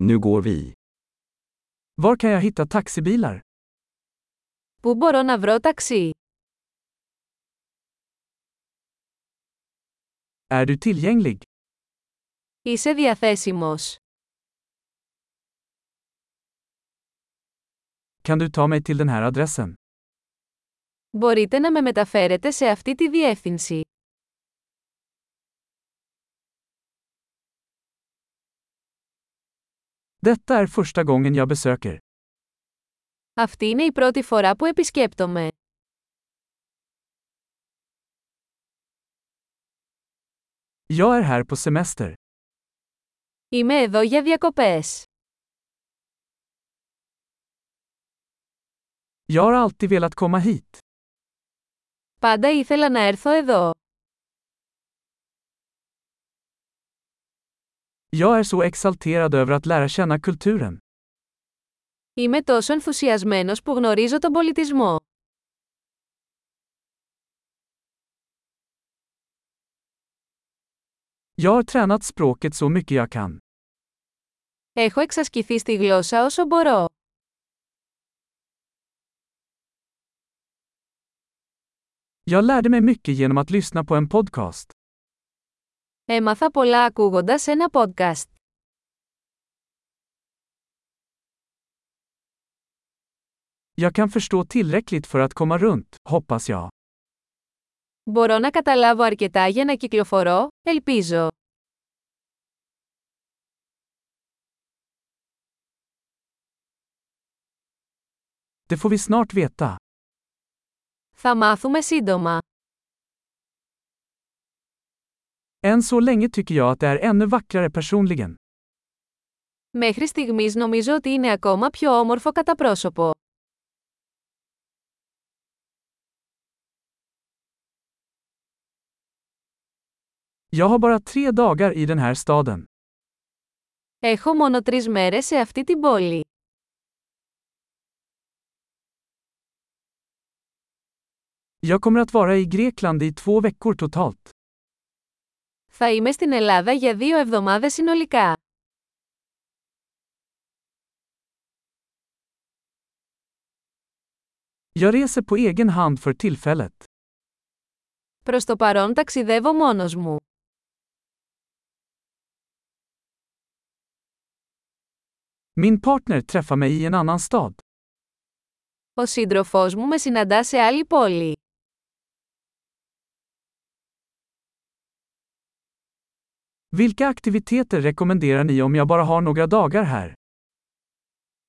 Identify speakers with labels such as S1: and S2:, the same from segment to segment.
S1: Nu går vi.
S2: Var kan jag hitta taxibilar?
S3: Πού μπορώ να βρω ταξί?
S2: Är du tillgänglig?
S3: Είσαι διαθέσιμος.
S2: Kan du ta mig till den här adressen?
S3: Μπορείτε να με μεταφέρετε σε αυτή τη διεύθυνση.
S2: Detta är första gången jag besöker.
S3: Αυτή είναι η πρώτη φορά που επισκέπτομαι.
S2: Jag är här på semester.
S3: Είμαι εδώ για διακοπές.
S2: Jag har alltid velat komma hit.
S3: Πάντα ήθελα να έρθω εδώ.
S2: Jag är så exalterad över att lära känna kulturen.
S3: Είμαι τόσο ενθουσιασμένος που γνωρίζω τον πολιτισμό.
S2: Jag har tränat språket så mycket jag kan.
S3: Έχω εξασκηθεί στη γλώσσα όσο μπορώ.
S2: Jag lärde mig mycket genom att lyssna på en podcast.
S3: Έμαθα πολλά ακούγοντας ένα podcast.
S2: Jag kan förstå tillräckligt för att komma runt, hoppas jag.
S3: Μπορώ να καταλάβω αρκετά για να κυκλοφορώ, ελπίζω.
S2: Det får vi snart veta.
S3: Θα μάθουμε σύντομα.
S2: Än så länge tycker jag att det är ännu vackrare personligen.
S3: Μέχρι στιγμής νομίζω ότι είναι ακόμα πιο όμορφο κατά πρόσωπο.
S2: Jag har bara tre dagar i den här staden.
S3: Έχω μόνο τρεις μέρες σε αυτή την πόλη.
S2: Jag kommer att vara i Grekland i två veckor totalt.
S3: Θα είμαι στην Ελλάδα για δύο εβδομάδες συνολικά.
S2: Jag reser på egen hand för tillfället.
S3: Προς το παρόν ταξιδεύω μόνος μου.
S2: Min partner träffar mig i en annan stad.
S3: Ο σύντροφός μου με συναντά σε άλλη πόλη.
S2: Vilka aktiviteter rekommenderar ni om jag bara har några dagar här?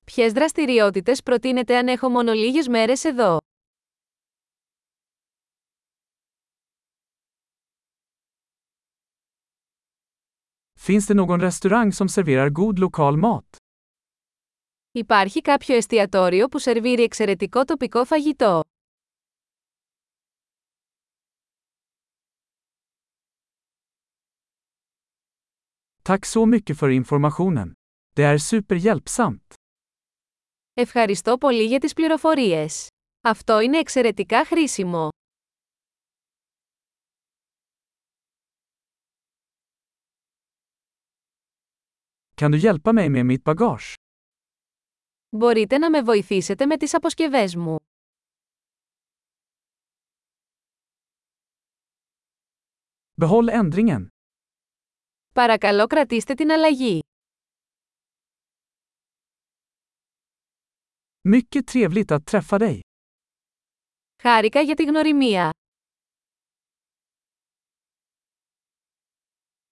S3: Ποιες δραστηριότητες προτείνετε αν έχω μόνο λίγες μέρες εδώ.
S2: Finns det någon restaurang som serverar god lokal mat?
S3: Υπάρχει κάποιο εστιατόριο που σερβίρει εξαιρετικό τοπικό φαγητό.
S2: Tack så mycket för informationen. Det är superhjälpsamt.
S3: Ευχαριστώ πολύ για τις πληροφορίες. Αυτό είναι εξαιρετικά χρήσιμο.
S2: Kan du hjälpa mig med mitt bagage?
S3: Μπορείτε να με βοηθήσετε με τις αποσκευές μου.
S2: Behåll ändringen.
S3: Παρακαλώ κρατήστε την αλλαγή.
S2: Mycket trevligt att träffa dig.
S3: Χάρηκα για τη γνωριμία.